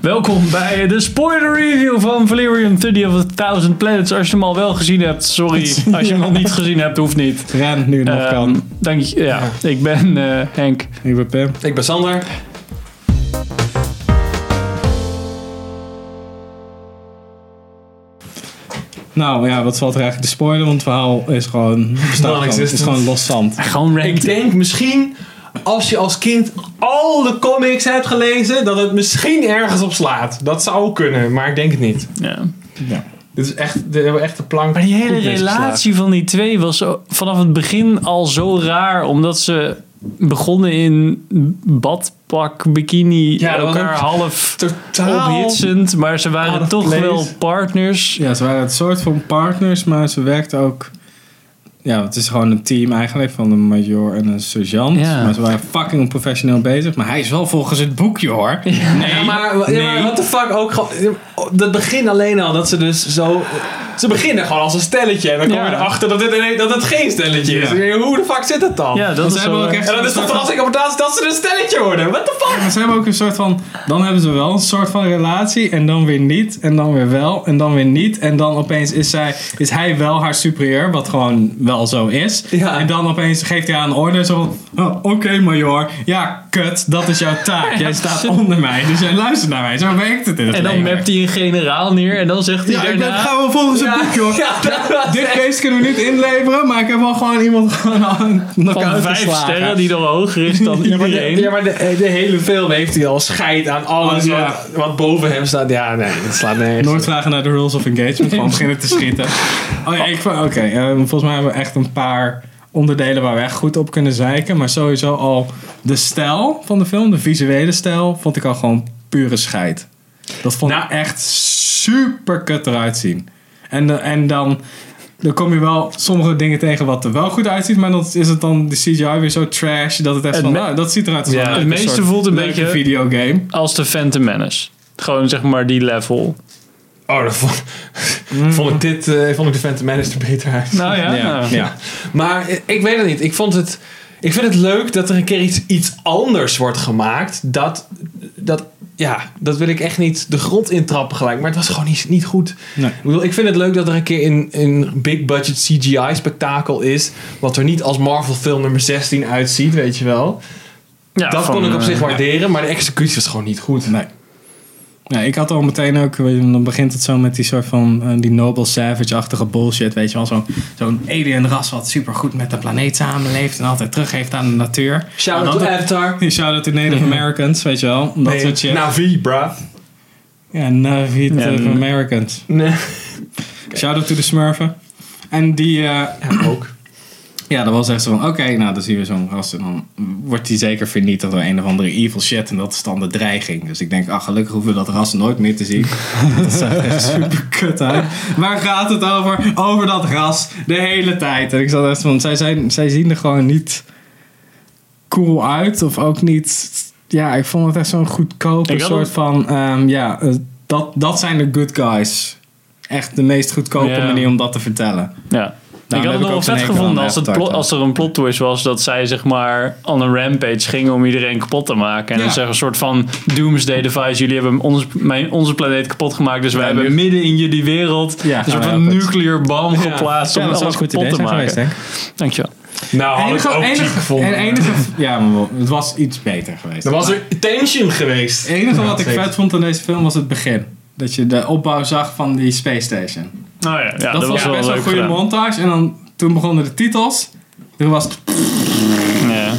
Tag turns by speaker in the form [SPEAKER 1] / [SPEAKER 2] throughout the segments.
[SPEAKER 1] Welkom bij de spoiler review van Valerian 30 of a Thousand Planets. Als je hem al wel gezien hebt, sorry. Als je hem nog niet gezien hebt, hoeft niet.
[SPEAKER 2] Ren, nu het nog
[SPEAKER 1] Ehm,
[SPEAKER 2] kan.
[SPEAKER 1] Dank je. Ja, ik ben eh, Henk.
[SPEAKER 2] Ik ben Pim.
[SPEAKER 3] Ik ben Sander.
[SPEAKER 2] Nou ja, wat valt er eigenlijk te spoilen? Want het verhaal is gewoon... bestaat gewoon. Het is
[SPEAKER 3] Non-existent.
[SPEAKER 2] gewoon los zand.
[SPEAKER 1] Gewoon
[SPEAKER 3] Ik
[SPEAKER 1] ranked.
[SPEAKER 3] denk misschien, als je als kind al de comics hebt gelezen, dat het misschien ergens op slaat. Dat zou kunnen, maar ik denk het niet.
[SPEAKER 1] Ja.
[SPEAKER 2] Ja.
[SPEAKER 3] Dit is echt, dit hebben we echt de plank.
[SPEAKER 1] Maar die hele
[SPEAKER 3] goed misgeslagen.
[SPEAKER 1] relatie van die twee was zo- vanaf het begin al zo raar. Omdat ze begonnen in badpak, bikini,
[SPEAKER 3] Ja, dat was
[SPEAKER 1] elkaar
[SPEAKER 3] ook
[SPEAKER 1] half Oh,
[SPEAKER 3] Totaal.
[SPEAKER 1] ophitsend. Maar ze waren
[SPEAKER 3] out of
[SPEAKER 1] toch
[SPEAKER 3] place.
[SPEAKER 1] wel partners.
[SPEAKER 2] ja, ze waren het soort van partners, maar ze werkten ook... Ja, het is gewoon een team eigenlijk van een major en een sergeant.
[SPEAKER 1] Ja.
[SPEAKER 2] Maar ze waren fucking professioneel bezig. Maar hij is wel volgens het boekje hoor.
[SPEAKER 3] Ja, maar, ja, maar
[SPEAKER 2] Nee.
[SPEAKER 3] what the fuck ook gewoon. Dat begin alleen al, dat ze dus zo. Ze beginnen gewoon als een stelletje. En dan kom je
[SPEAKER 1] Ja.
[SPEAKER 3] erachter dat het, ineens- dat het geen stelletje is.
[SPEAKER 2] Ja.
[SPEAKER 3] Ik denk, Hoe de fuck zit dat dan?
[SPEAKER 1] Ja, dat
[SPEAKER 2] Want
[SPEAKER 1] is
[SPEAKER 2] ze hebben
[SPEAKER 1] wel
[SPEAKER 2] ook
[SPEAKER 1] raar.
[SPEAKER 2] echt
[SPEAKER 3] En dan is de verrassing op het laatst dat ze een stelletje worden. What the fuck?
[SPEAKER 2] Maar ze hebben ook een soort van. Dan hebben ze wel een soort van relatie. En dan weer niet. En dan weer wel. En dan weer niet. En dan opeens is, zij, is hij wel haar superieur. Wat gewoon wel zo is.
[SPEAKER 3] Ja.
[SPEAKER 2] En dan opeens geeft hij haar een order. Zo van. "Oh, Oké, major. Ja, kut. Dat is jouw taak. Jij staat onder mij. Dus jij luistert naar mij. Zo werkt het in het
[SPEAKER 1] En dan
[SPEAKER 2] leven.
[SPEAKER 1] mapt hij een generaal neer en dan zegt hij
[SPEAKER 2] Ja, ik ben,
[SPEAKER 1] daarna...
[SPEAKER 2] gaan we volgens het boekje hoor.
[SPEAKER 3] Ja, dat was
[SPEAKER 2] Dit beest kunnen we niet inleveren. Maar ik heb wel gewoon iemand gewoon aan
[SPEAKER 1] Van
[SPEAKER 2] knock-out
[SPEAKER 1] vijf
[SPEAKER 2] geslagen.
[SPEAKER 1] sterren die dan hoger is dan
[SPEAKER 3] Ja, maar, de,
[SPEAKER 1] iedereen.
[SPEAKER 3] ja, maar de, de hele film heeft hij al scheid aan alles
[SPEAKER 2] Oh, ja.
[SPEAKER 3] wat, wat boven hem staat. Ja, nee, dat slaat nergens.
[SPEAKER 2] Nooit vragen naar de rules of engagement. Gewoon beginnen te schieten. Oh ja, ik vond- oké. eh, volgens mij hebben we echt een paar onderdelen waar we echt goed op kunnen zeiken. Maar sowieso al de stijl van de film, de visuele stijl, vond ik al gewoon pure scheid. Dat vond
[SPEAKER 3] Nou.
[SPEAKER 2] ik echt super kut eruit zien. En, de- en dan, dan kom je wel sommige dingen tegen wat er wel goed uitziet. Maar dan is het dan de CGI weer zo trash dat het echt
[SPEAKER 1] Het
[SPEAKER 2] van,
[SPEAKER 1] me-
[SPEAKER 2] nou, dat ziet eruit als
[SPEAKER 3] Ja,
[SPEAKER 2] een,
[SPEAKER 1] het meeste
[SPEAKER 2] soort
[SPEAKER 1] voelt een
[SPEAKER 2] leuke
[SPEAKER 1] beetje-
[SPEAKER 2] videogame.
[SPEAKER 1] Als de Phantom Menace. Gewoon zeg maar die level.
[SPEAKER 3] Oh, dat vond,
[SPEAKER 2] Mm.
[SPEAKER 3] vond ik dit, eh, vond ik de Phantom Menace er beter uit.
[SPEAKER 1] Nou ja.
[SPEAKER 2] ja. ja.
[SPEAKER 3] Maar eh, ik weet het niet. Ik, vond het, ik vind het leuk dat er een keer iets, iets anders wordt gemaakt. Dat, dat, ja, dat wil ik echt niet de grond intrappen gelijk. Maar het was gewoon niet, niet goed.
[SPEAKER 2] Nee.
[SPEAKER 3] Ik, bedoel, ik vind het leuk dat er een keer een, een big budget CGI spektakel is. Wat er niet als Marvel film nummer 16 uitziet, weet je wel.
[SPEAKER 1] Ja,
[SPEAKER 3] dat
[SPEAKER 1] van,
[SPEAKER 3] kon ik op
[SPEAKER 1] eh,
[SPEAKER 3] zich waarderen. Maar de executie was gewoon niet goed.
[SPEAKER 2] Nee. Nee, ik had al meteen ook, weet je, dan begint het zo met die soort van, eh, die Noble Savage-achtige bullshit, weet je wel. Zo'n zo'n alien ras wat supergoed met de planeet samenleeft en altijd teruggeeft aan de natuur.
[SPEAKER 3] Shout out
[SPEAKER 2] En
[SPEAKER 3] to
[SPEAKER 2] altijd-
[SPEAKER 3] Avatar.
[SPEAKER 2] Shout-out to Native Americans, weet je wel. Nou, Dat soort shit.
[SPEAKER 3] Navi, bruh.
[SPEAKER 2] ja, Native
[SPEAKER 1] Ja,
[SPEAKER 2] Americans.
[SPEAKER 3] Nee.
[SPEAKER 2] Shout-out to de smurfen. En die, eh,
[SPEAKER 3] Ja, ook.
[SPEAKER 2] ja, dat was echt zo van, oké, nou, dan zien we zo'n ras en dan wordt die zeker vernietigd door een of andere evil shit. En dat is dan de dreiging. Dus ik denk, ah, gelukkig hoeven we dat ras nooit meer te zien. dat zag er echt super kut uit. Waar gaat het over? Over dat ras. De hele tijd. En ik zat echt van, zij, zijn, zij zien er gewoon niet cool uit. Of ook niet, ja, ik vond het echt zo'n goedkope
[SPEAKER 1] Ik had
[SPEAKER 2] soort
[SPEAKER 1] ook-
[SPEAKER 2] van, ehm, ja, eh, dat, dat zijn de good guys. Echt de meest goedkope
[SPEAKER 1] Ja.
[SPEAKER 2] manier om dat te vertellen.
[SPEAKER 1] Ja.
[SPEAKER 2] Daarom
[SPEAKER 1] ik had het
[SPEAKER 2] Nou, heb ik
[SPEAKER 1] nog wel
[SPEAKER 2] ook zo'n
[SPEAKER 1] vet
[SPEAKER 2] hekel
[SPEAKER 1] gevonden
[SPEAKER 2] aan
[SPEAKER 1] als, het
[SPEAKER 2] Avatar
[SPEAKER 1] plot-
[SPEAKER 2] dan.
[SPEAKER 1] als er een plot twist was dat zij zeg maar aan een rampage gingen om iedereen kapot te maken. En
[SPEAKER 2] Ja.
[SPEAKER 1] dan zeggen een soort van doomsday device, jullie hebben ons, mijn, onze planeet kapot gemaakt, dus wij
[SPEAKER 2] Ja,
[SPEAKER 1] hebben
[SPEAKER 2] nu-
[SPEAKER 1] midden in jullie wereld
[SPEAKER 2] Ja,
[SPEAKER 1] een soort
[SPEAKER 2] nou,
[SPEAKER 1] van
[SPEAKER 2] ja, goed.
[SPEAKER 1] nuclear bomb
[SPEAKER 3] Ja.
[SPEAKER 1] geplaatst om alles kapot te maken.
[SPEAKER 2] denk ik.
[SPEAKER 1] Dankjewel.
[SPEAKER 3] Nou, had ik
[SPEAKER 2] Enige-
[SPEAKER 3] ook
[SPEAKER 2] enige-
[SPEAKER 3] cheap gevonden.
[SPEAKER 2] en enige, ja, maar het was iets beter geweest.
[SPEAKER 3] Dan was er tension geweest.
[SPEAKER 2] Het enige wat ik
[SPEAKER 3] zeker.
[SPEAKER 2] vet vond aan deze film was het begin. Dat je de opbouw zag van die space station.
[SPEAKER 1] Nou ja, ja,
[SPEAKER 2] dat,
[SPEAKER 1] dat, was
[SPEAKER 2] vond ik
[SPEAKER 1] wel
[SPEAKER 2] best
[SPEAKER 1] leuk
[SPEAKER 2] wel een goede
[SPEAKER 1] gedaan.
[SPEAKER 2] montage. En dan, toen begonnen de titels. Toen was het
[SPEAKER 1] Ja.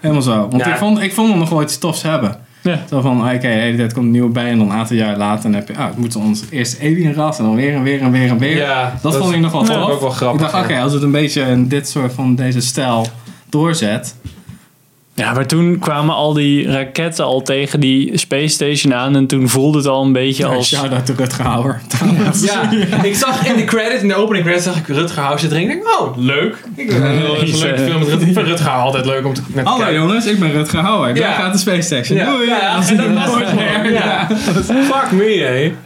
[SPEAKER 2] helemaal zo. Want
[SPEAKER 3] Ja.
[SPEAKER 2] ik, vond, ik vond hem nog wel iets tofs hebben.
[SPEAKER 1] Ja.
[SPEAKER 2] Zo van, oké, de hele tijd komt een nieuwe bij. En dan een aantal jaar later dan heb je, ah, het moet ons eerst alien ras. En dan weer en weer en weer en weer.
[SPEAKER 3] Ja,
[SPEAKER 2] dat, vond ik nog wel
[SPEAKER 3] vond ik
[SPEAKER 2] tof.
[SPEAKER 3] ook wel grappig,
[SPEAKER 2] Ik dacht,
[SPEAKER 3] ja.
[SPEAKER 2] oké, als het een beetje in dit soort van deze stijl doorzet.
[SPEAKER 1] Ja, maar toen kwamen al die raketten al tegen die space station aan en toen voelde het al een beetje
[SPEAKER 2] Ja,
[SPEAKER 1] als...
[SPEAKER 2] Nou, Shout-out to Rutger Hauer.
[SPEAKER 3] Ja, ik zag in de credit, in de opening credit, zag ik Rutger Hauer zitten. En ik denk, oh, leuk. Ik vind het een leuke film met Rutger, Ik vind Rutger Hauer altijd leuk om te naar te
[SPEAKER 2] Hallo
[SPEAKER 3] kijken.
[SPEAKER 2] jongens, ik ben Rutger Hauer. Daar
[SPEAKER 3] Ja.
[SPEAKER 2] gaat de Space Station.
[SPEAKER 3] Ja,
[SPEAKER 2] Doei!
[SPEAKER 3] ja, en dat was het gewoon. Ja. Fuck me,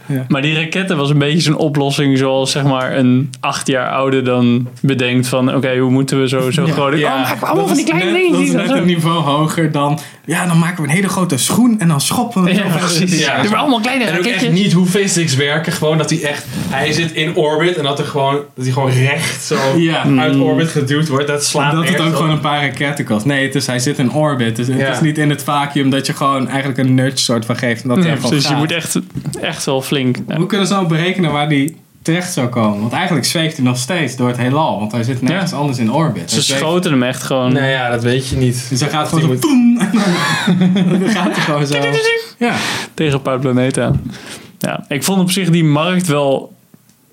[SPEAKER 3] hé.
[SPEAKER 1] Maar die raketten was een beetje zo'n oplossing zoals zeg maar een acht jaar oude dan bedenkt van oké, hoe moeten we zo, zo groot...
[SPEAKER 3] ja.
[SPEAKER 1] Oh, maar allemaal van die kleine
[SPEAKER 2] net,
[SPEAKER 1] dingen.
[SPEAKER 2] Dat is
[SPEAKER 1] die
[SPEAKER 2] net
[SPEAKER 1] dan
[SPEAKER 2] het
[SPEAKER 1] zo-
[SPEAKER 2] niveau hoger dan... Ja, dan maken we een hele grote schoen en dan schoppen we hem
[SPEAKER 1] Ja,
[SPEAKER 2] zo ver.
[SPEAKER 1] precies.
[SPEAKER 3] Ja.
[SPEAKER 1] Doe maar allemaal kleine
[SPEAKER 3] En ook echt
[SPEAKER 2] dus-
[SPEAKER 1] raketjes.
[SPEAKER 3] niet hoe physics werken. Gewoon dat hij echt... Hij zit in orbit en dat, er gewoon, dat hij gewoon recht zo
[SPEAKER 2] Ja.
[SPEAKER 3] uit orbit geduwd wordt. Dat slaat
[SPEAKER 2] Dat het
[SPEAKER 3] nergens
[SPEAKER 2] ook
[SPEAKER 3] op.
[SPEAKER 2] gewoon een paar raketten kost. Nee, het is, hij zit in orbit. Dus
[SPEAKER 3] Ja.
[SPEAKER 2] Het is niet in het vacuüm dat je gewoon eigenlijk een nudge soort van geeft. en Dat hij
[SPEAKER 1] Ja,
[SPEAKER 2] gewoon
[SPEAKER 1] precies. Je
[SPEAKER 2] gaat.
[SPEAKER 1] moet echt, echt wel flink. Ja.
[SPEAKER 2] Hoe kunnen ze nou berekenen waar die terecht zou komen? Want eigenlijk zweeft hij nog steeds door het heelal. Want hij zit nergens
[SPEAKER 1] Ja.
[SPEAKER 2] anders in orbit.
[SPEAKER 1] Ze
[SPEAKER 2] Hij zweeft-
[SPEAKER 1] schoten hem echt gewoon.
[SPEAKER 3] Nou ja, dat weet je niet.
[SPEAKER 2] Dus hij gaat gewoon
[SPEAKER 3] Die
[SPEAKER 2] zo
[SPEAKER 3] moet-
[SPEAKER 2] poem. En dan dan gaat hij gewoon zo. Ja.
[SPEAKER 1] tegen een paar planeten aan. Ja, ik vond op zich die markt wel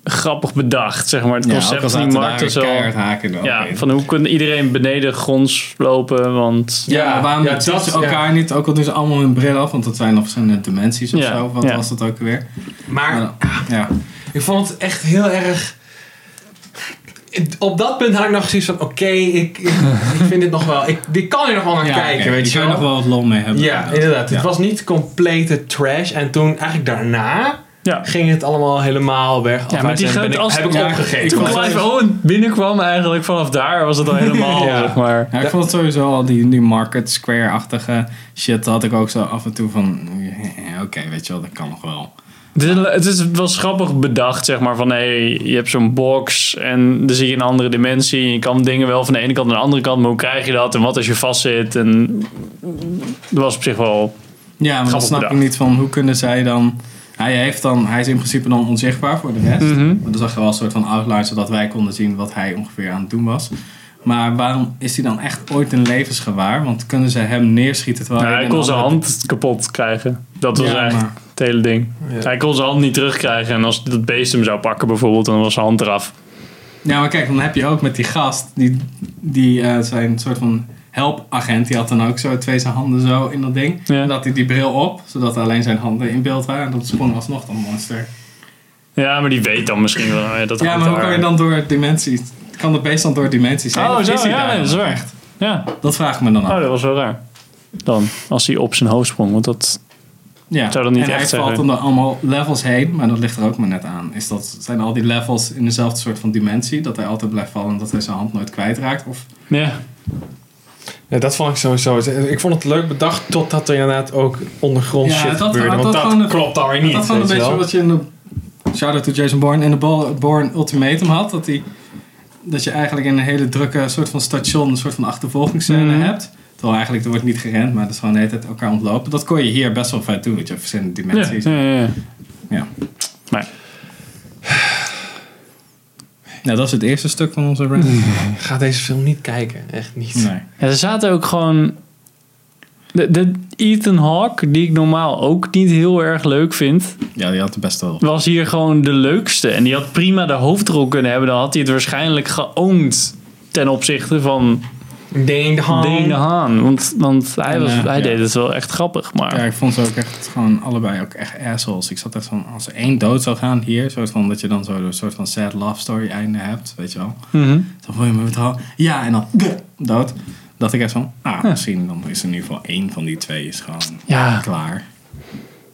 [SPEAKER 1] grappig bedacht, zeg maar. Het concept van die markt is wel...
[SPEAKER 2] keihard haken. in de
[SPEAKER 1] Ja,
[SPEAKER 2] ogen.
[SPEAKER 1] van hoe kan iedereen beneden gronds lopen, want...
[SPEAKER 2] Ja,
[SPEAKER 3] Ja,
[SPEAKER 2] waarom
[SPEAKER 3] ja,
[SPEAKER 2] dat
[SPEAKER 3] dat-
[SPEAKER 2] ze elkaar niet? Ook al doen ze allemaal hun bril af, want dat zijn nog verschillende dimensies of
[SPEAKER 1] Ja,
[SPEAKER 2] zo. Wat
[SPEAKER 1] ja.
[SPEAKER 2] was dat ook weer?
[SPEAKER 3] Maar
[SPEAKER 2] Maar, ja.
[SPEAKER 3] Ik vond het echt heel erg. Op dat punt had ik nog zoiets van: oké, ik, ik, ik vind dit nog wel. Ik, dit kan hier nog wel naar
[SPEAKER 2] Ja,
[SPEAKER 3] kijken,
[SPEAKER 2] oké,
[SPEAKER 3] weet
[SPEAKER 2] die
[SPEAKER 3] je
[SPEAKER 2] kan
[SPEAKER 3] wel.
[SPEAKER 2] nog wel wat lol mee hebben.
[SPEAKER 3] ja, inderdaad.
[SPEAKER 2] Ja.
[SPEAKER 3] Het was niet complete trash. En toen, eigenlijk daarna,
[SPEAKER 1] Ja,
[SPEAKER 3] ging het allemaal helemaal weg.
[SPEAKER 1] Ja, maar die
[SPEAKER 3] Afwijzen
[SPEAKER 1] grote-
[SPEAKER 3] ben ik-
[SPEAKER 1] als-
[SPEAKER 3] heb ik
[SPEAKER 2] ja,
[SPEAKER 3] opgegeven.
[SPEAKER 2] ik
[SPEAKER 1] toen
[SPEAKER 2] vond het
[SPEAKER 1] Clive
[SPEAKER 2] even-
[SPEAKER 1] Owen oh, binnenkwam eigenlijk, vanaf daar was het al helemaal,
[SPEAKER 3] Ja.
[SPEAKER 1] zeg maar...
[SPEAKER 2] Ja, ik vond het sowieso al die, die market square-achtige shit. Dat had ik ook zo af en toe van. eh, Oké, weet je wel, dat kan nog wel.
[SPEAKER 1] Het is- Het is wel grappig bedacht, zeg maar, van hé, je hebt zo'n box en dan zie je een andere dimensie. En je kan dingen wel van de ene kant naar de andere kant, maar hoe krijg je dat? En wat als je vastzit? En dat was op zich wel...
[SPEAKER 2] Ja, maar dan
[SPEAKER 1] Grappig
[SPEAKER 2] snap ik
[SPEAKER 1] bedacht.
[SPEAKER 2] niet van hoe kunnen zij dan. Hij, heeft dan, hij is in principe dan onzichtbaar voor de rest.
[SPEAKER 1] Mhm.
[SPEAKER 2] Maar dan zag je wel een soort van outline zodat wij konden zien wat hij ongeveer aan het doen was. Maar waarom is hij dan echt ooit een levensgewaar? Want kunnen ze hem neerschieten terwijl
[SPEAKER 1] Nou, hij
[SPEAKER 2] in
[SPEAKER 1] kon
[SPEAKER 2] een
[SPEAKER 1] zijn
[SPEAKER 2] andere-
[SPEAKER 1] hand kapot krijgen. Dat was
[SPEAKER 2] Ja,
[SPEAKER 1] eigenlijk
[SPEAKER 2] maar-
[SPEAKER 1] het hele ding.
[SPEAKER 3] Ja.
[SPEAKER 1] Hij kon zijn hand niet terugkrijgen. En als dat beest hem zou pakken bijvoorbeeld, dan was zijn hand eraf.
[SPEAKER 2] Ja, maar kijk, dan heb je ook met die gast, die, die eh, zijn soort van helpagent, die had dan ook zo twee zijn handen zo in dat ding.
[SPEAKER 1] Ja.
[SPEAKER 2] En dat hij die bril op, zodat alleen zijn handen in beeld waren. En dat sprong alsnog dan monster.
[SPEAKER 1] Ja, maar die weet dan misschien wel eh, dat
[SPEAKER 2] Ja,
[SPEAKER 1] het
[SPEAKER 2] maar hoe
[SPEAKER 1] daar-
[SPEAKER 2] kan je dan door dimensies, kan dat beest dan door dimensies heen?
[SPEAKER 1] Oh,
[SPEAKER 2] Of
[SPEAKER 1] zo,
[SPEAKER 2] is hij
[SPEAKER 1] ja,
[SPEAKER 2] daar
[SPEAKER 1] nee,
[SPEAKER 2] dan
[SPEAKER 1] dat is waar.
[SPEAKER 2] echt?
[SPEAKER 1] Ja,
[SPEAKER 2] Dat vraag ik me dan af.
[SPEAKER 1] oh, dat was wel raar. Dan, als hij op zijn hoofd sprong, want dat...
[SPEAKER 2] ja.
[SPEAKER 1] zou dat niet
[SPEAKER 2] en
[SPEAKER 1] echt
[SPEAKER 2] hij
[SPEAKER 1] zeggen.
[SPEAKER 2] valt dan door allemaal levels heen, maar dat ligt er ook maar net aan. Is dat, zijn al die levels in dezelfde soort van dimensie, dat hij altijd blijft vallen en dat hij zijn hand nooit kwijtraakt? Of
[SPEAKER 1] Ja,
[SPEAKER 3] Ja, dat vond ik sowieso. Ik vond het leuk bedacht totdat er inderdaad ook ondergrond
[SPEAKER 2] Ja,
[SPEAKER 3] shit
[SPEAKER 2] dat-
[SPEAKER 3] gebeurde.
[SPEAKER 2] dat
[SPEAKER 3] Want dat,
[SPEAKER 2] gewoon een-
[SPEAKER 3] klopt daar weer niet.
[SPEAKER 2] dat van een
[SPEAKER 3] weet je
[SPEAKER 2] beetje
[SPEAKER 3] wel.
[SPEAKER 2] wat je in de shout-out to Jason Bourne in de Bal- Bourne Ultimatum had. Dat, die, dat je eigenlijk in een hele drukke soort van station een soort van achtervolgingsscène
[SPEAKER 1] Mhm.
[SPEAKER 2] hebt. Terwijl eigenlijk er wordt niet gerend, maar dat is gewoon de hele tijd elkaar ontlopen. Dat kon je hier best wel fijn doen, dat je verschillende
[SPEAKER 1] ja,
[SPEAKER 2] dimensies.
[SPEAKER 1] ja,
[SPEAKER 2] Ja.
[SPEAKER 1] ja, ja. Maar
[SPEAKER 2] Nou, dat is het eerste stuk van onze ranking.
[SPEAKER 3] Ga deze film niet kijken. Echt niet.
[SPEAKER 2] Nee.
[SPEAKER 1] Ja, er zaten ook gewoon. De, de Ethan Hawke, die ik normaal ook niet heel erg leuk vind,
[SPEAKER 2] Ja, die had het best wel.
[SPEAKER 1] was hier gewoon de leukste. En die had prima de hoofdrol kunnen hebben. Dan had hij het waarschijnlijk geowned ten opzichte van
[SPEAKER 3] Ding de hand.
[SPEAKER 1] Dane de Haan. Want, want hij,
[SPEAKER 2] En,
[SPEAKER 1] was,
[SPEAKER 2] eh,
[SPEAKER 1] hij
[SPEAKER 2] ja.
[SPEAKER 1] deed het wel echt grappig. Maar
[SPEAKER 2] Ja, ik vond ze ook echt gewoon allebei ook echt assholes. Ik zat echt van, als er één dood zou gaan hier, soort van dat je dan zo een soort van sad love story einde hebt, weet je wel.
[SPEAKER 1] Mhm.
[SPEAKER 2] Dan voel je me wel. Ja, en dan dood. Dacht ik echt van, ah, misschien dan is er in ieder geval één van die twee is gewoon
[SPEAKER 1] ja.
[SPEAKER 2] klaar.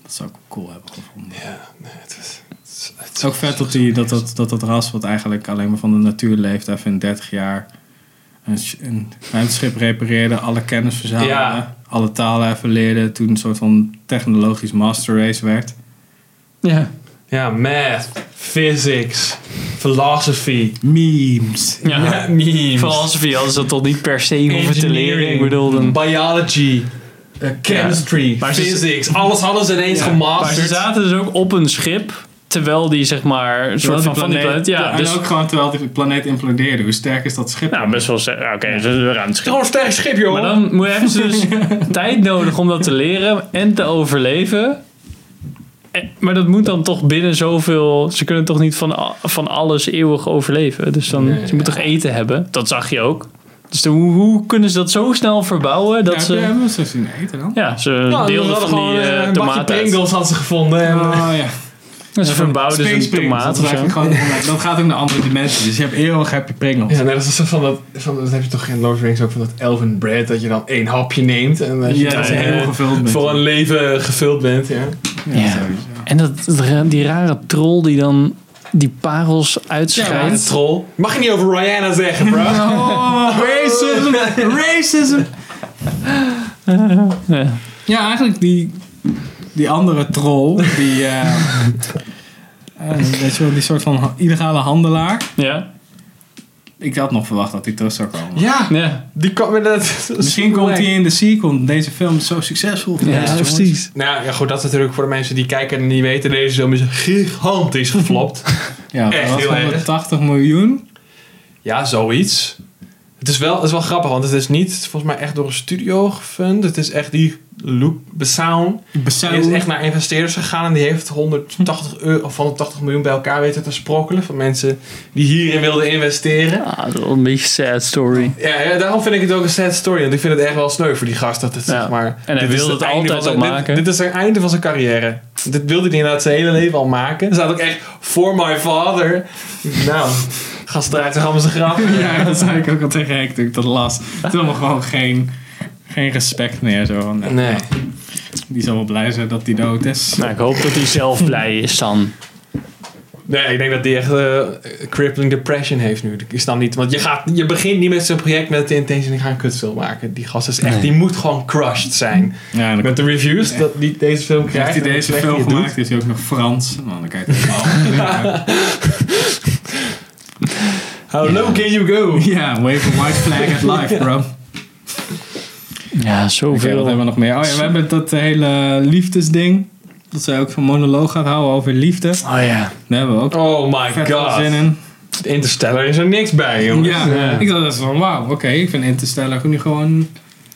[SPEAKER 2] Dat zou ik cool hebben gevonden.
[SPEAKER 3] Ja, nee, het is- het is- het
[SPEAKER 2] Het is ook vet dat, die, dat, dat, dat dat ras, wat eigenlijk alleen maar van de natuur leeft, even in 30 jaar een, sch- een ruimteschip repareerde, alle kennis verzamelde,
[SPEAKER 3] Ja.
[SPEAKER 2] alle talen even leerde, toen een soort van technologisch master race werd.
[SPEAKER 1] Ja.
[SPEAKER 3] Ja, math, physics, philosophy,
[SPEAKER 2] Memes.
[SPEAKER 1] ja.
[SPEAKER 3] ja. memes,
[SPEAKER 1] Philosophy hadden ze dat toch niet per se hoeven te leren. Ik
[SPEAKER 3] engineering,
[SPEAKER 1] bedoel, dan-
[SPEAKER 3] biology, eh, chemistry,
[SPEAKER 1] Maar ze-
[SPEAKER 3] physics. Alles hadden ze ineens
[SPEAKER 1] Maar ze
[SPEAKER 3] gemasterd.
[SPEAKER 1] zaten dus ook op een schip. Terwijl die, zeg maar, een soort van van die planeet. Ja,
[SPEAKER 2] en
[SPEAKER 1] dus,
[SPEAKER 2] ook gewoon terwijl de planeet implodeerde. Hoe sterk is dat schip?
[SPEAKER 1] nou, best wel. ze- ja, Oké, ze een ruimteschip.
[SPEAKER 3] Gewoon een sterk schip, joh.
[SPEAKER 1] Maar dan moet- hebben ze dus tijd nodig om dat te leren en te overleven. En- Maar dat moet dan toch binnen zoveel. Ze kunnen toch niet van, a- van alles eeuwig overleven. Dus dan,
[SPEAKER 3] Nee,
[SPEAKER 1] ze moeten toch eten hebben. Dat zag je ook. Dus dan, hoe, hoe kunnen ze dat zo snel verbouwen dat eh,
[SPEAKER 2] ja,
[SPEAKER 1] ze.
[SPEAKER 2] hebben we ze zien eten dan?
[SPEAKER 1] Ja, ze
[SPEAKER 3] Ja, ze
[SPEAKER 1] deelden
[SPEAKER 3] Nou, hadden
[SPEAKER 1] van die
[SPEAKER 3] eh,
[SPEAKER 1] eh
[SPEAKER 3] een bakje
[SPEAKER 1] tomaat uit.
[SPEAKER 3] Pringles hadden ze gevonden. En,
[SPEAKER 2] Oh ja.
[SPEAKER 1] En Ze verbouwden dus een
[SPEAKER 2] Space Pringles,
[SPEAKER 1] tomaat
[SPEAKER 2] dat,
[SPEAKER 1] of
[SPEAKER 2] is
[SPEAKER 1] zo.
[SPEAKER 2] eigenlijk gewoon, dat gaat ook naar andere dimensies. Dus je hebt eeuwig heb je pringels.
[SPEAKER 3] ja, nee, dat is een soort van dat, van dat heb je toch in Lord of the Rings ook van dat elven bread dat je dan één hapje neemt en dat je
[SPEAKER 2] Ja,
[SPEAKER 3] dan,
[SPEAKER 2] dat is
[SPEAKER 1] ja,
[SPEAKER 3] eh,
[SPEAKER 2] helemaal gevuld met.
[SPEAKER 3] voor een leven gevuld bent. Ja.
[SPEAKER 2] Ja,
[SPEAKER 1] Ja.
[SPEAKER 2] sowieso.
[SPEAKER 1] En dat, dat- die rare troll die dan die parels
[SPEAKER 3] Ja, de
[SPEAKER 1] uitschrijft.
[SPEAKER 3] troll. Mag je niet over Rihanna zeggen, bro?
[SPEAKER 2] Oh, racism! racism!
[SPEAKER 1] Ja.
[SPEAKER 2] Ja, eigenlijk die, die andere troll, die, eh, eh, weet je wel, die soort van ha- illegale handelaar.
[SPEAKER 1] Ja.
[SPEAKER 2] Ik had nog verwacht dat hij terug zou komen.
[SPEAKER 3] Ja,
[SPEAKER 1] ja.
[SPEAKER 3] die kwam inderdaad.
[SPEAKER 2] Misschien komt hij in de sequel. want Deze film is zo succesvol. geweest, jongens.
[SPEAKER 3] Nou ja, goed, dat is natuurlijk voor de mensen die kijken en niet weten. Deze film is gigantisch geflopt.
[SPEAKER 2] Ja,
[SPEAKER 3] Echt
[SPEAKER 2] dat was
[SPEAKER 3] heel erg.
[SPEAKER 2] 180 miljoen.
[SPEAKER 3] ja, zoiets. Het is, wel, het is wel grappig, want het is niet volgens mij echt door een studio gefund. Het is echt die Luke Besson. Die is echt naar investeerders gegaan en die heeft 180, euro, of 180 miljoen bij elkaar weten te sprokkelen. Van mensen die hierin wilden investeren.
[SPEAKER 1] Ah, dat is wel een beetje een sad story.
[SPEAKER 3] Ja, ja, daarom vind ik het ook een sad story. Want ik vind het echt wel sneu voor die gast. Dat het,
[SPEAKER 1] Ja.
[SPEAKER 3] zeg maar,
[SPEAKER 1] En hij
[SPEAKER 3] dit
[SPEAKER 1] wilde
[SPEAKER 3] is
[SPEAKER 1] het
[SPEAKER 3] einde
[SPEAKER 1] altijd
[SPEAKER 3] van
[SPEAKER 1] al
[SPEAKER 3] zijn-
[SPEAKER 1] maken.
[SPEAKER 3] Dit, dit is het einde van zijn carrière. Dit wilde hij inderdaad zijn hele leven al maken. Er staat ook echt, for my father. Nou, gast draait zich allemaal zijn graf.
[SPEAKER 2] Ja, dat zei ik ook al tegen Henk toen ik dat las. Toen hadden we gewoon geen, geen respect meer. Zo. van, nou,
[SPEAKER 3] Nee.
[SPEAKER 2] Die zal wel blij zijn dat hij dood is.
[SPEAKER 1] Nou, ik hoop dat hij zelf blij is dan.
[SPEAKER 3] Nee, ik denk dat die echt eh, crippling depression heeft nu. Ik snap niet, want je, gaat, je begint niet met zijn project met de intentie, ik ga een kutfilm maken. Die gast is echt, die moet gewoon crushed zijn.
[SPEAKER 2] Ja, en dan
[SPEAKER 3] Met de reviews dat die deze film krijgt.
[SPEAKER 2] heeft hij
[SPEAKER 3] en hoe
[SPEAKER 2] deze
[SPEAKER 3] slecht
[SPEAKER 2] film
[SPEAKER 3] hij het doet.
[SPEAKER 2] gemaakt. Is hij ook nog Frans? Man, dan kijk ik helemaal.
[SPEAKER 3] How Oh, low can you go?
[SPEAKER 2] Ja, wave a white flag at life, bro.
[SPEAKER 1] Ja,
[SPEAKER 2] Oké, wat
[SPEAKER 1] zoveel.
[SPEAKER 2] hebben we nog meer? Oh ja, we hebben dat hele liefdesding. Dat zij ook zo'n monoloog gaat houden over liefde.
[SPEAKER 1] Oh ja.
[SPEAKER 2] Daar hebben we ook
[SPEAKER 3] Oh my
[SPEAKER 2] vet veel
[SPEAKER 3] god.
[SPEAKER 2] zin in.
[SPEAKER 3] Interstellar is er niks bij, jongens.
[SPEAKER 2] Ja, ik dacht dat is van wauw, oké, ik vind Interstellar nu gewoon,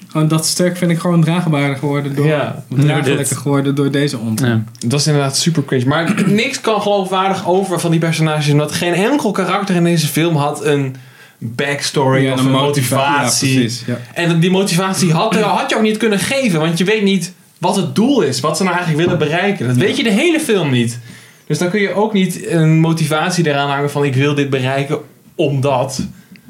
[SPEAKER 2] gewoon dat stuk vind ik gewoon draagbaarder geworden door,
[SPEAKER 3] Ja,
[SPEAKER 1] door
[SPEAKER 2] draaglijker
[SPEAKER 1] dit.
[SPEAKER 2] geworden door deze ont.
[SPEAKER 1] Ja.
[SPEAKER 3] Dat is inderdaad super cringe. Maar niks kan geloofwaardig over van die personages. Omdat geen enkel karakter in deze film had een backstory
[SPEAKER 2] Ja,
[SPEAKER 3] of
[SPEAKER 2] de
[SPEAKER 3] een
[SPEAKER 2] motiva-
[SPEAKER 3] motivatie.
[SPEAKER 2] Ja, precies. Ja.
[SPEAKER 3] en die motivatie had, had je ook niet kunnen geven. Want je weet niet wat het doel is. Wat ze nou eigenlijk willen bereiken. Dat weet je de hele film niet. Dus dan kun je ook niet een motivatie eraan hangen van ik wil dit bereiken omdat.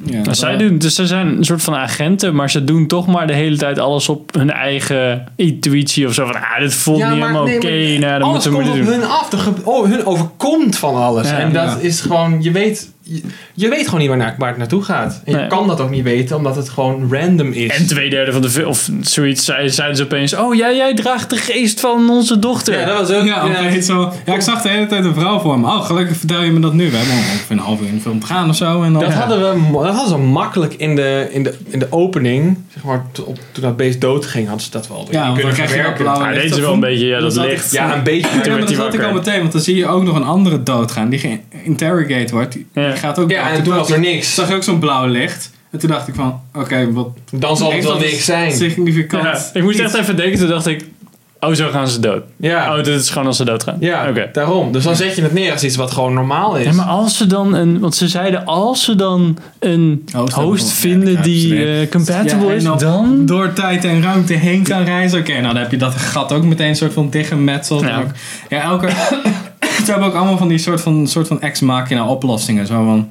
[SPEAKER 2] Ja,
[SPEAKER 1] Maar
[SPEAKER 2] dat-
[SPEAKER 1] zij doen, dus ze zijn een soort van agenten, maar ze doen toch maar de hele tijd alles op hun eigen intuïtie of zo. Van, ah, dit voelt niet helemaal
[SPEAKER 3] nee,
[SPEAKER 1] oké, nou, dan
[SPEAKER 3] alles
[SPEAKER 1] moeten we
[SPEAKER 3] komt
[SPEAKER 1] maar
[SPEAKER 3] op
[SPEAKER 1] dit doen.
[SPEAKER 3] hun af. Er gebe- oh, hun overkomt van alles.
[SPEAKER 1] Ja,
[SPEAKER 3] en dat
[SPEAKER 2] ja.
[SPEAKER 3] is gewoon, je weet, je, je weet gewoon niet waar, na- waar het naartoe gaat. En je
[SPEAKER 1] Nee.
[SPEAKER 3] kan dat ook niet weten, omdat het gewoon random is.
[SPEAKER 1] En twee derde van de film, of zoiets, zei- zeiden ze opeens, oh jij, jij draagt de geest van onze dochter.
[SPEAKER 3] ja, dat was ook...
[SPEAKER 2] Ja,
[SPEAKER 3] ja.
[SPEAKER 2] oké, zo. ja, ik zag de hele tijd een vrouw voor me. Oh, gelukkig vertel je me dat nu. We hebben nog ongeveer een half uur in de film te gaan of zo. En dan,
[SPEAKER 3] Dat,
[SPEAKER 2] ja.
[SPEAKER 3] hadden we, mo- dat hadden ze makkelijk in de, in de, in de opening, zeg maar, to- op, toen dat beest dood ging, hadden ze dat wel.
[SPEAKER 2] Ja, want dan krijg je dat
[SPEAKER 3] verwerken.
[SPEAKER 2] blauwe
[SPEAKER 1] Maar
[SPEAKER 2] licht
[SPEAKER 1] deze
[SPEAKER 2] op.
[SPEAKER 1] wel een beetje, ja, dat
[SPEAKER 2] zat ik-
[SPEAKER 1] licht.
[SPEAKER 3] Ja, een beetje.
[SPEAKER 2] Ja,
[SPEAKER 1] werd
[SPEAKER 2] maar dat
[SPEAKER 1] hij
[SPEAKER 2] had ik al
[SPEAKER 1] wakker.
[SPEAKER 2] meteen, want dan zie je ook nog een andere doodgaan die geïnterrogeerd wordt. Die
[SPEAKER 1] Ja.
[SPEAKER 2] gaat ook dood.
[SPEAKER 3] Ja, en toen was er niks.
[SPEAKER 2] zag je ook zo'n blauw licht. En toen dacht ik van, oké, wat
[SPEAKER 3] Dan zal het
[SPEAKER 2] heeft
[SPEAKER 3] wel
[SPEAKER 2] dat
[SPEAKER 3] niks zijn.
[SPEAKER 2] Significant.
[SPEAKER 1] Ja, ik moest echt even denken, toen dacht ik, oh zo gaan ze dood.
[SPEAKER 3] Ja,
[SPEAKER 1] Oh, dit is gewoon als ze dood gaan.
[SPEAKER 3] ja
[SPEAKER 1] Oké.
[SPEAKER 3] daarom. Dus dan zet je het neer als iets wat gewoon normaal is.
[SPEAKER 1] Ja, maar als ze dan een, want ze zeiden als ze dan een host,
[SPEAKER 2] Host Oh, hebben,
[SPEAKER 1] vinden
[SPEAKER 2] ja, dat
[SPEAKER 1] die
[SPEAKER 2] krijgen ze
[SPEAKER 1] eh, compatible
[SPEAKER 2] Ja, en
[SPEAKER 1] is,
[SPEAKER 2] dan-
[SPEAKER 1] dan...
[SPEAKER 2] door tijd en ruimte heen kan reizen. Oké, nou dan heb je dat gat ook meteen een soort van dichtgemetseld.
[SPEAKER 1] Ja.
[SPEAKER 2] Ja, ja elke... Ze hebben ook allemaal van die soort van, soort van ex-machina oplossingen. Zo van,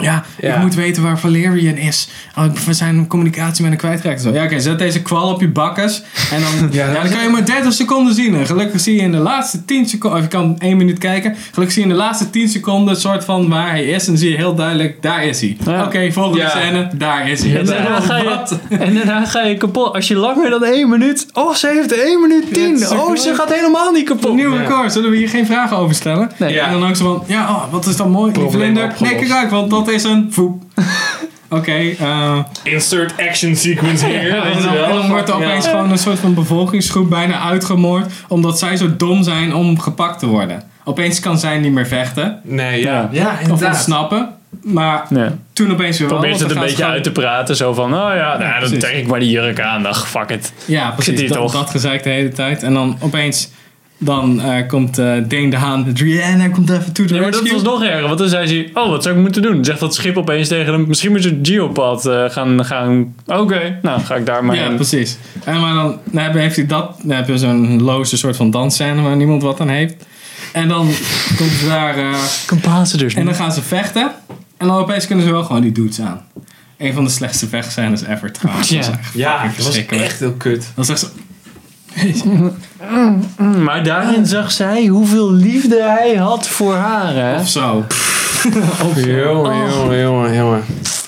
[SPEAKER 2] ja,
[SPEAKER 3] Ja.
[SPEAKER 2] ik moet weten waar Valerian is. Oh, ik- we zijn communicatie met hem kwijtgeraakt. en Zo. Ja, oké, zet deze kwal op je bakkes. En dan, ja, dan kan je maar 30 seconden zien. En gelukkig zie je in de laatste 10 seconden... Of je kan 1 minuut kijken. Gelukkig zie je in de laatste 10 seconden een soort van waar hij is. En dan zie je heel duidelijk, daar is hij.
[SPEAKER 1] Ja.
[SPEAKER 2] Oké, volgende
[SPEAKER 3] Ja.
[SPEAKER 2] scène, daar is hij.
[SPEAKER 1] En daarna, ga je, en daarna ga je kapot. Als je langer dan één minuut. Oh, ze heeft één minuut
[SPEAKER 2] Ja,
[SPEAKER 1] tien.
[SPEAKER 2] het is
[SPEAKER 1] oh,
[SPEAKER 2] gewoon-
[SPEAKER 1] ze gaat helemaal niet kapot.
[SPEAKER 2] Een nieuw
[SPEAKER 3] Ja.
[SPEAKER 2] record, zullen we hier geen vragen over stellen?
[SPEAKER 1] Nee.
[SPEAKER 3] Ja.
[SPEAKER 2] En dan ook zo van, ja, oh, wat is dat mooi, die
[SPEAKER 3] Probleem
[SPEAKER 2] vlinder.
[SPEAKER 3] opgelost.
[SPEAKER 2] Nee, kijk uit, want dat is een voep. Oké, eh,
[SPEAKER 3] Insert action sequence here.
[SPEAKER 2] en dan, en dan wordt er opeens gewoon een soort van bevolkingsgroep bijna uitgemoord, omdat zij zo dom zijn om gepakt te worden. Opeens kan zij niet meer vechten,
[SPEAKER 3] Nee, ja.
[SPEAKER 1] Ja.
[SPEAKER 3] Ja,
[SPEAKER 2] of ontsnappen, maar
[SPEAKER 1] Ja.
[SPEAKER 2] toen opeens weer wel.
[SPEAKER 1] Probeert
[SPEAKER 2] want
[SPEAKER 1] het een
[SPEAKER 2] dan gaan ze
[SPEAKER 1] beetje uit te praten. Zo van, oh ja, nou, dan
[SPEAKER 2] precies.
[SPEAKER 1] trek ik maar die jurk aan. Dag, fuck it.
[SPEAKER 2] gewoon- Ja,
[SPEAKER 1] Zit hier
[SPEAKER 2] precies, dat,
[SPEAKER 1] toch?
[SPEAKER 2] dat gezeik de hele tijd. En dan opeens, dan eh, komt eh Deen de Haan, met Rihanna komt even toe.
[SPEAKER 1] Nee, maar dat was nog erger. Want dan zei ze, oh, wat zou ik moeten doen? Zegt dat schip opeens tegen hem. Misschien moet je het geopad eh, gaan... gaan Oké, nou ga ik daar maar
[SPEAKER 2] ja,
[SPEAKER 1] heen.
[SPEAKER 2] precies. En maar dan, dan heb- heeft hij dat, dan heb je zo'n loze soort van dansscène waar niemand wat aan heeft. En dan komt ze daar, eh,
[SPEAKER 1] Competitors.
[SPEAKER 2] en dan gaan ze vechten. En dan opeens kunnen ze wel gewoon die dudes aan. Een van de slechtste vechtscènes ever trouwens.
[SPEAKER 1] Ja.
[SPEAKER 2] Dat is echt
[SPEAKER 3] Ja,
[SPEAKER 2] fucking
[SPEAKER 3] dat was
[SPEAKER 2] verschrikkelijk.
[SPEAKER 3] echt heel kut.
[SPEAKER 2] Dat is echt zo...
[SPEAKER 1] Maar daarin zag zij hoeveel liefde hij had voor haar. Hè?
[SPEAKER 2] Of zo.
[SPEAKER 1] Oh.
[SPEAKER 3] Jongen, jongen, jongen, jongen.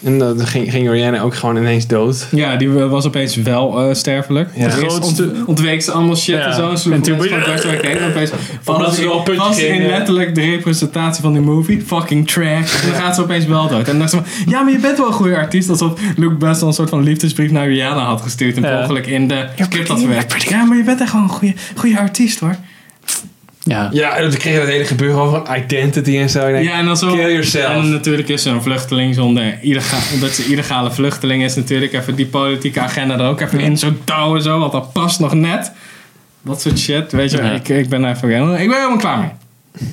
[SPEAKER 3] En dat- dan ging, ging Rihanna ook gewoon ineens dood.
[SPEAKER 2] Ja, die eh, was opeens wel eh, sterfelijk.
[SPEAKER 3] Ja.
[SPEAKER 2] Ja. Eerst
[SPEAKER 1] Grootste-
[SPEAKER 2] ont- ontweek ze allemaal shit
[SPEAKER 1] Ja.
[SPEAKER 2] en zo.
[SPEAKER 1] En
[SPEAKER 2] En toen
[SPEAKER 1] toen-
[SPEAKER 2] mensen gewoon dwars door elkaar heen. En opeens
[SPEAKER 1] Omdat
[SPEAKER 2] was
[SPEAKER 1] ze wel een
[SPEAKER 2] in,
[SPEAKER 1] puntje
[SPEAKER 2] was in
[SPEAKER 1] ging, ja.
[SPEAKER 2] letterlijk de representatie van die movie. Fucking trash. En dan gaat ze opeens wel dood. En dan dacht ze van, ja, maar je bent wel een goede artiest. Alsof Luke Best een soort van liefdesbrief naar Rihanna had gestuurd. En per
[SPEAKER 1] Ja.
[SPEAKER 2] ongeluk in de script had
[SPEAKER 1] pretty-
[SPEAKER 2] verwerkt. Ja, maar je bent echt gewoon een goede, goede artiest hoor.
[SPEAKER 1] Ja.
[SPEAKER 3] Ja, en dan kreeg je dat hele gebeuren over identity en zo. Ik denk,
[SPEAKER 2] Ja, en dan zo.
[SPEAKER 3] Kill yourself.
[SPEAKER 2] En natuurlijk is ze een vluchteling zonder. Illega- dat ze illegale vluchteling is, natuurlijk even die politieke agenda er ook even in zo touwen, zo, want dat past nog net. Dat soort shit, weet je,
[SPEAKER 1] Ja.
[SPEAKER 2] ik, ik ben daar even helemaal- Ik ben helemaal klaar mee.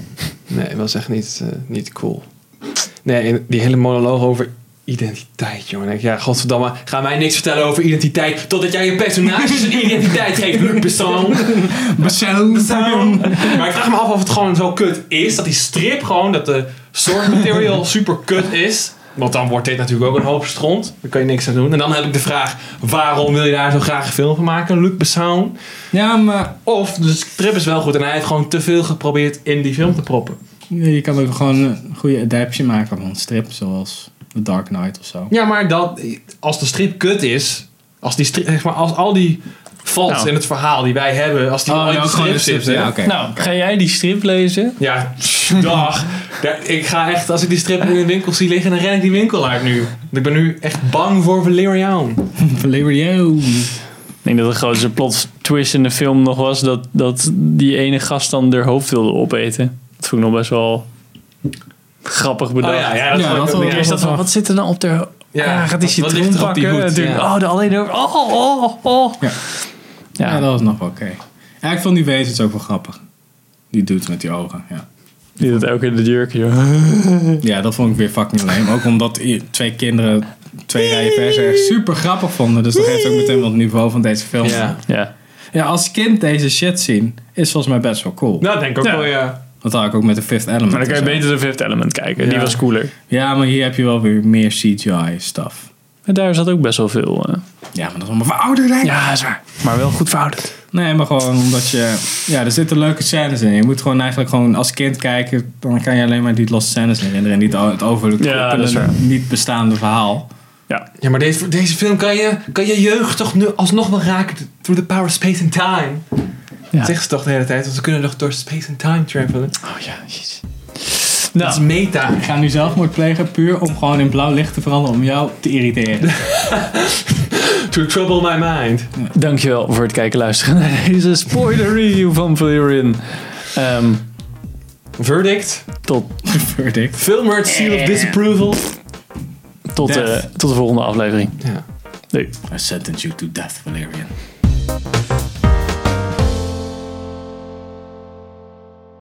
[SPEAKER 3] Nee, was echt niet, eh, niet cool. Nee, en die hele monoloog over identiteit, jongen. Ik denk, ja, godverdamme, ga mij niks vertellen over identiteit. Totdat jij je personage zijn identiteit geeft, Luc Besson.
[SPEAKER 2] Persoon.
[SPEAKER 3] Maar ik vraag me af of het gewoon zo kut is. Dat die strip gewoon, dat de source material super kut is. Want dan wordt dit natuurlijk ook een hoop stront. Daar kan je niks aan doen. En dan heb ik de vraag, waarom wil je daar zo graag een film van maken, Luc Besson?
[SPEAKER 2] Ja, maar
[SPEAKER 3] Of de strip is wel goed en hij heeft gewoon te veel geprobeerd in die film te proppen.
[SPEAKER 2] nee, je kan ook gewoon een goede adaptation maken van een strip, zoals The Dark Knight of zo.
[SPEAKER 3] Ja, maar dat, als de strip kut is, als, die strip, zeg maar, als al die faults
[SPEAKER 1] Nou.
[SPEAKER 3] in het verhaal die wij hebben, als die al
[SPEAKER 2] Oh, ja,
[SPEAKER 3] in de
[SPEAKER 2] ook gewoon
[SPEAKER 3] strip
[SPEAKER 2] een strip,
[SPEAKER 3] zitten.
[SPEAKER 2] ja,
[SPEAKER 3] Ja,
[SPEAKER 2] oké.
[SPEAKER 1] Nou, ga jij die strip lezen?
[SPEAKER 3] dag. Ja, ik ga echt, als ik die strip in de winkel zie liggen, dan ren ik die winkel uit nu. Want Ik ben nu echt bang voor Valerian.
[SPEAKER 2] Valerio.
[SPEAKER 1] Ik denk dat de grootste plot twist in de film nog was dat, dat die ene gast dan haar hoofd wilde opeten. Dat vond ik nog best wel grappig
[SPEAKER 3] Oh
[SPEAKER 1] bedacht.
[SPEAKER 3] ja, ja, dat
[SPEAKER 2] Ja,
[SPEAKER 3] vond ik
[SPEAKER 2] dat
[SPEAKER 3] ook
[SPEAKER 2] wel.
[SPEAKER 3] niet
[SPEAKER 1] Eerst
[SPEAKER 3] echt.
[SPEAKER 1] dat van, wat zit er nou op de... Ja,
[SPEAKER 3] Ja,
[SPEAKER 1] gaat hij
[SPEAKER 3] wat-
[SPEAKER 1] citroen
[SPEAKER 3] wat ligt er op die
[SPEAKER 1] pakken?
[SPEAKER 3] hoed?
[SPEAKER 1] En toen,
[SPEAKER 3] Ja.
[SPEAKER 1] Oh, de alleen de... Oh, oh, oh.
[SPEAKER 2] Ja. Ja.
[SPEAKER 1] Ja,
[SPEAKER 2] dat was nog wel oké. Ja, ik vond die wezens ook wel grappig. Die doet met die ogen, ja.
[SPEAKER 1] die doet ook in de jurkje. joh.
[SPEAKER 2] Ja, dat vond ik weer fucking lame. Ook omdat i- twee kinderen twee rijen versen echt super grappig vonden. Dus dat geeft ook meteen wat niveau van deze film.
[SPEAKER 3] Ja.
[SPEAKER 1] Ja.
[SPEAKER 2] Ja, als kind deze shit zien is volgens mij best wel cool.
[SPEAKER 3] Nou, dat denk ik ook
[SPEAKER 1] Ja.
[SPEAKER 3] wel, ja.
[SPEAKER 2] Dat had ik ook met de Fifth Element.
[SPEAKER 1] Maar dan kan je
[SPEAKER 2] en zo.
[SPEAKER 1] beter de Fifth Element kijken. Die
[SPEAKER 3] Ja.
[SPEAKER 1] was cooler.
[SPEAKER 2] Ja, maar hier heb je wel weer meer CGI stuff.
[SPEAKER 1] En daar zat ook best wel veel... eh,
[SPEAKER 2] Ja, maar dat is allemaal verouderd hè?
[SPEAKER 1] ja, is waar. Maar wel goed verouderd.
[SPEAKER 2] Nee, maar gewoon omdat je... Ja, er zitten leuke scènes in. Je moet gewoon eigenlijk gewoon als kind kijken. Dan kan je alleen maar die losse scènes herinneren. En niet al- het over
[SPEAKER 1] Ja, dat is waar.
[SPEAKER 2] niet bestaande verhaal.
[SPEAKER 1] Ja.
[SPEAKER 3] Ja, maar deze, deze film kan je, kan je jeugd toch nu alsnog wel raken through the power, space and time.
[SPEAKER 1] Ja.
[SPEAKER 3] Dat zeggen ze toch de hele tijd, want ze kunnen nog door space and time travelen.
[SPEAKER 1] Oh ja, jezus.
[SPEAKER 3] Dat is
[SPEAKER 1] Nou,
[SPEAKER 3] meta.
[SPEAKER 2] Ik ga nu zelfmoord plegen puur om gewoon in blauw licht te veranderen. Om jou te irriteren.
[SPEAKER 3] To trouble my mind.
[SPEAKER 1] dankjewel voor het kijken luisteren naar deze spoiler review van Valerian. Ehm,
[SPEAKER 3] Verdict.
[SPEAKER 1] tot,
[SPEAKER 2] verdict.
[SPEAKER 3] Film werd seal of disapproval.
[SPEAKER 1] tot, eh,
[SPEAKER 2] Death.
[SPEAKER 1] tot de volgende aflevering.
[SPEAKER 3] Ja.
[SPEAKER 1] Doei.
[SPEAKER 2] I sentence you to death, Valerian.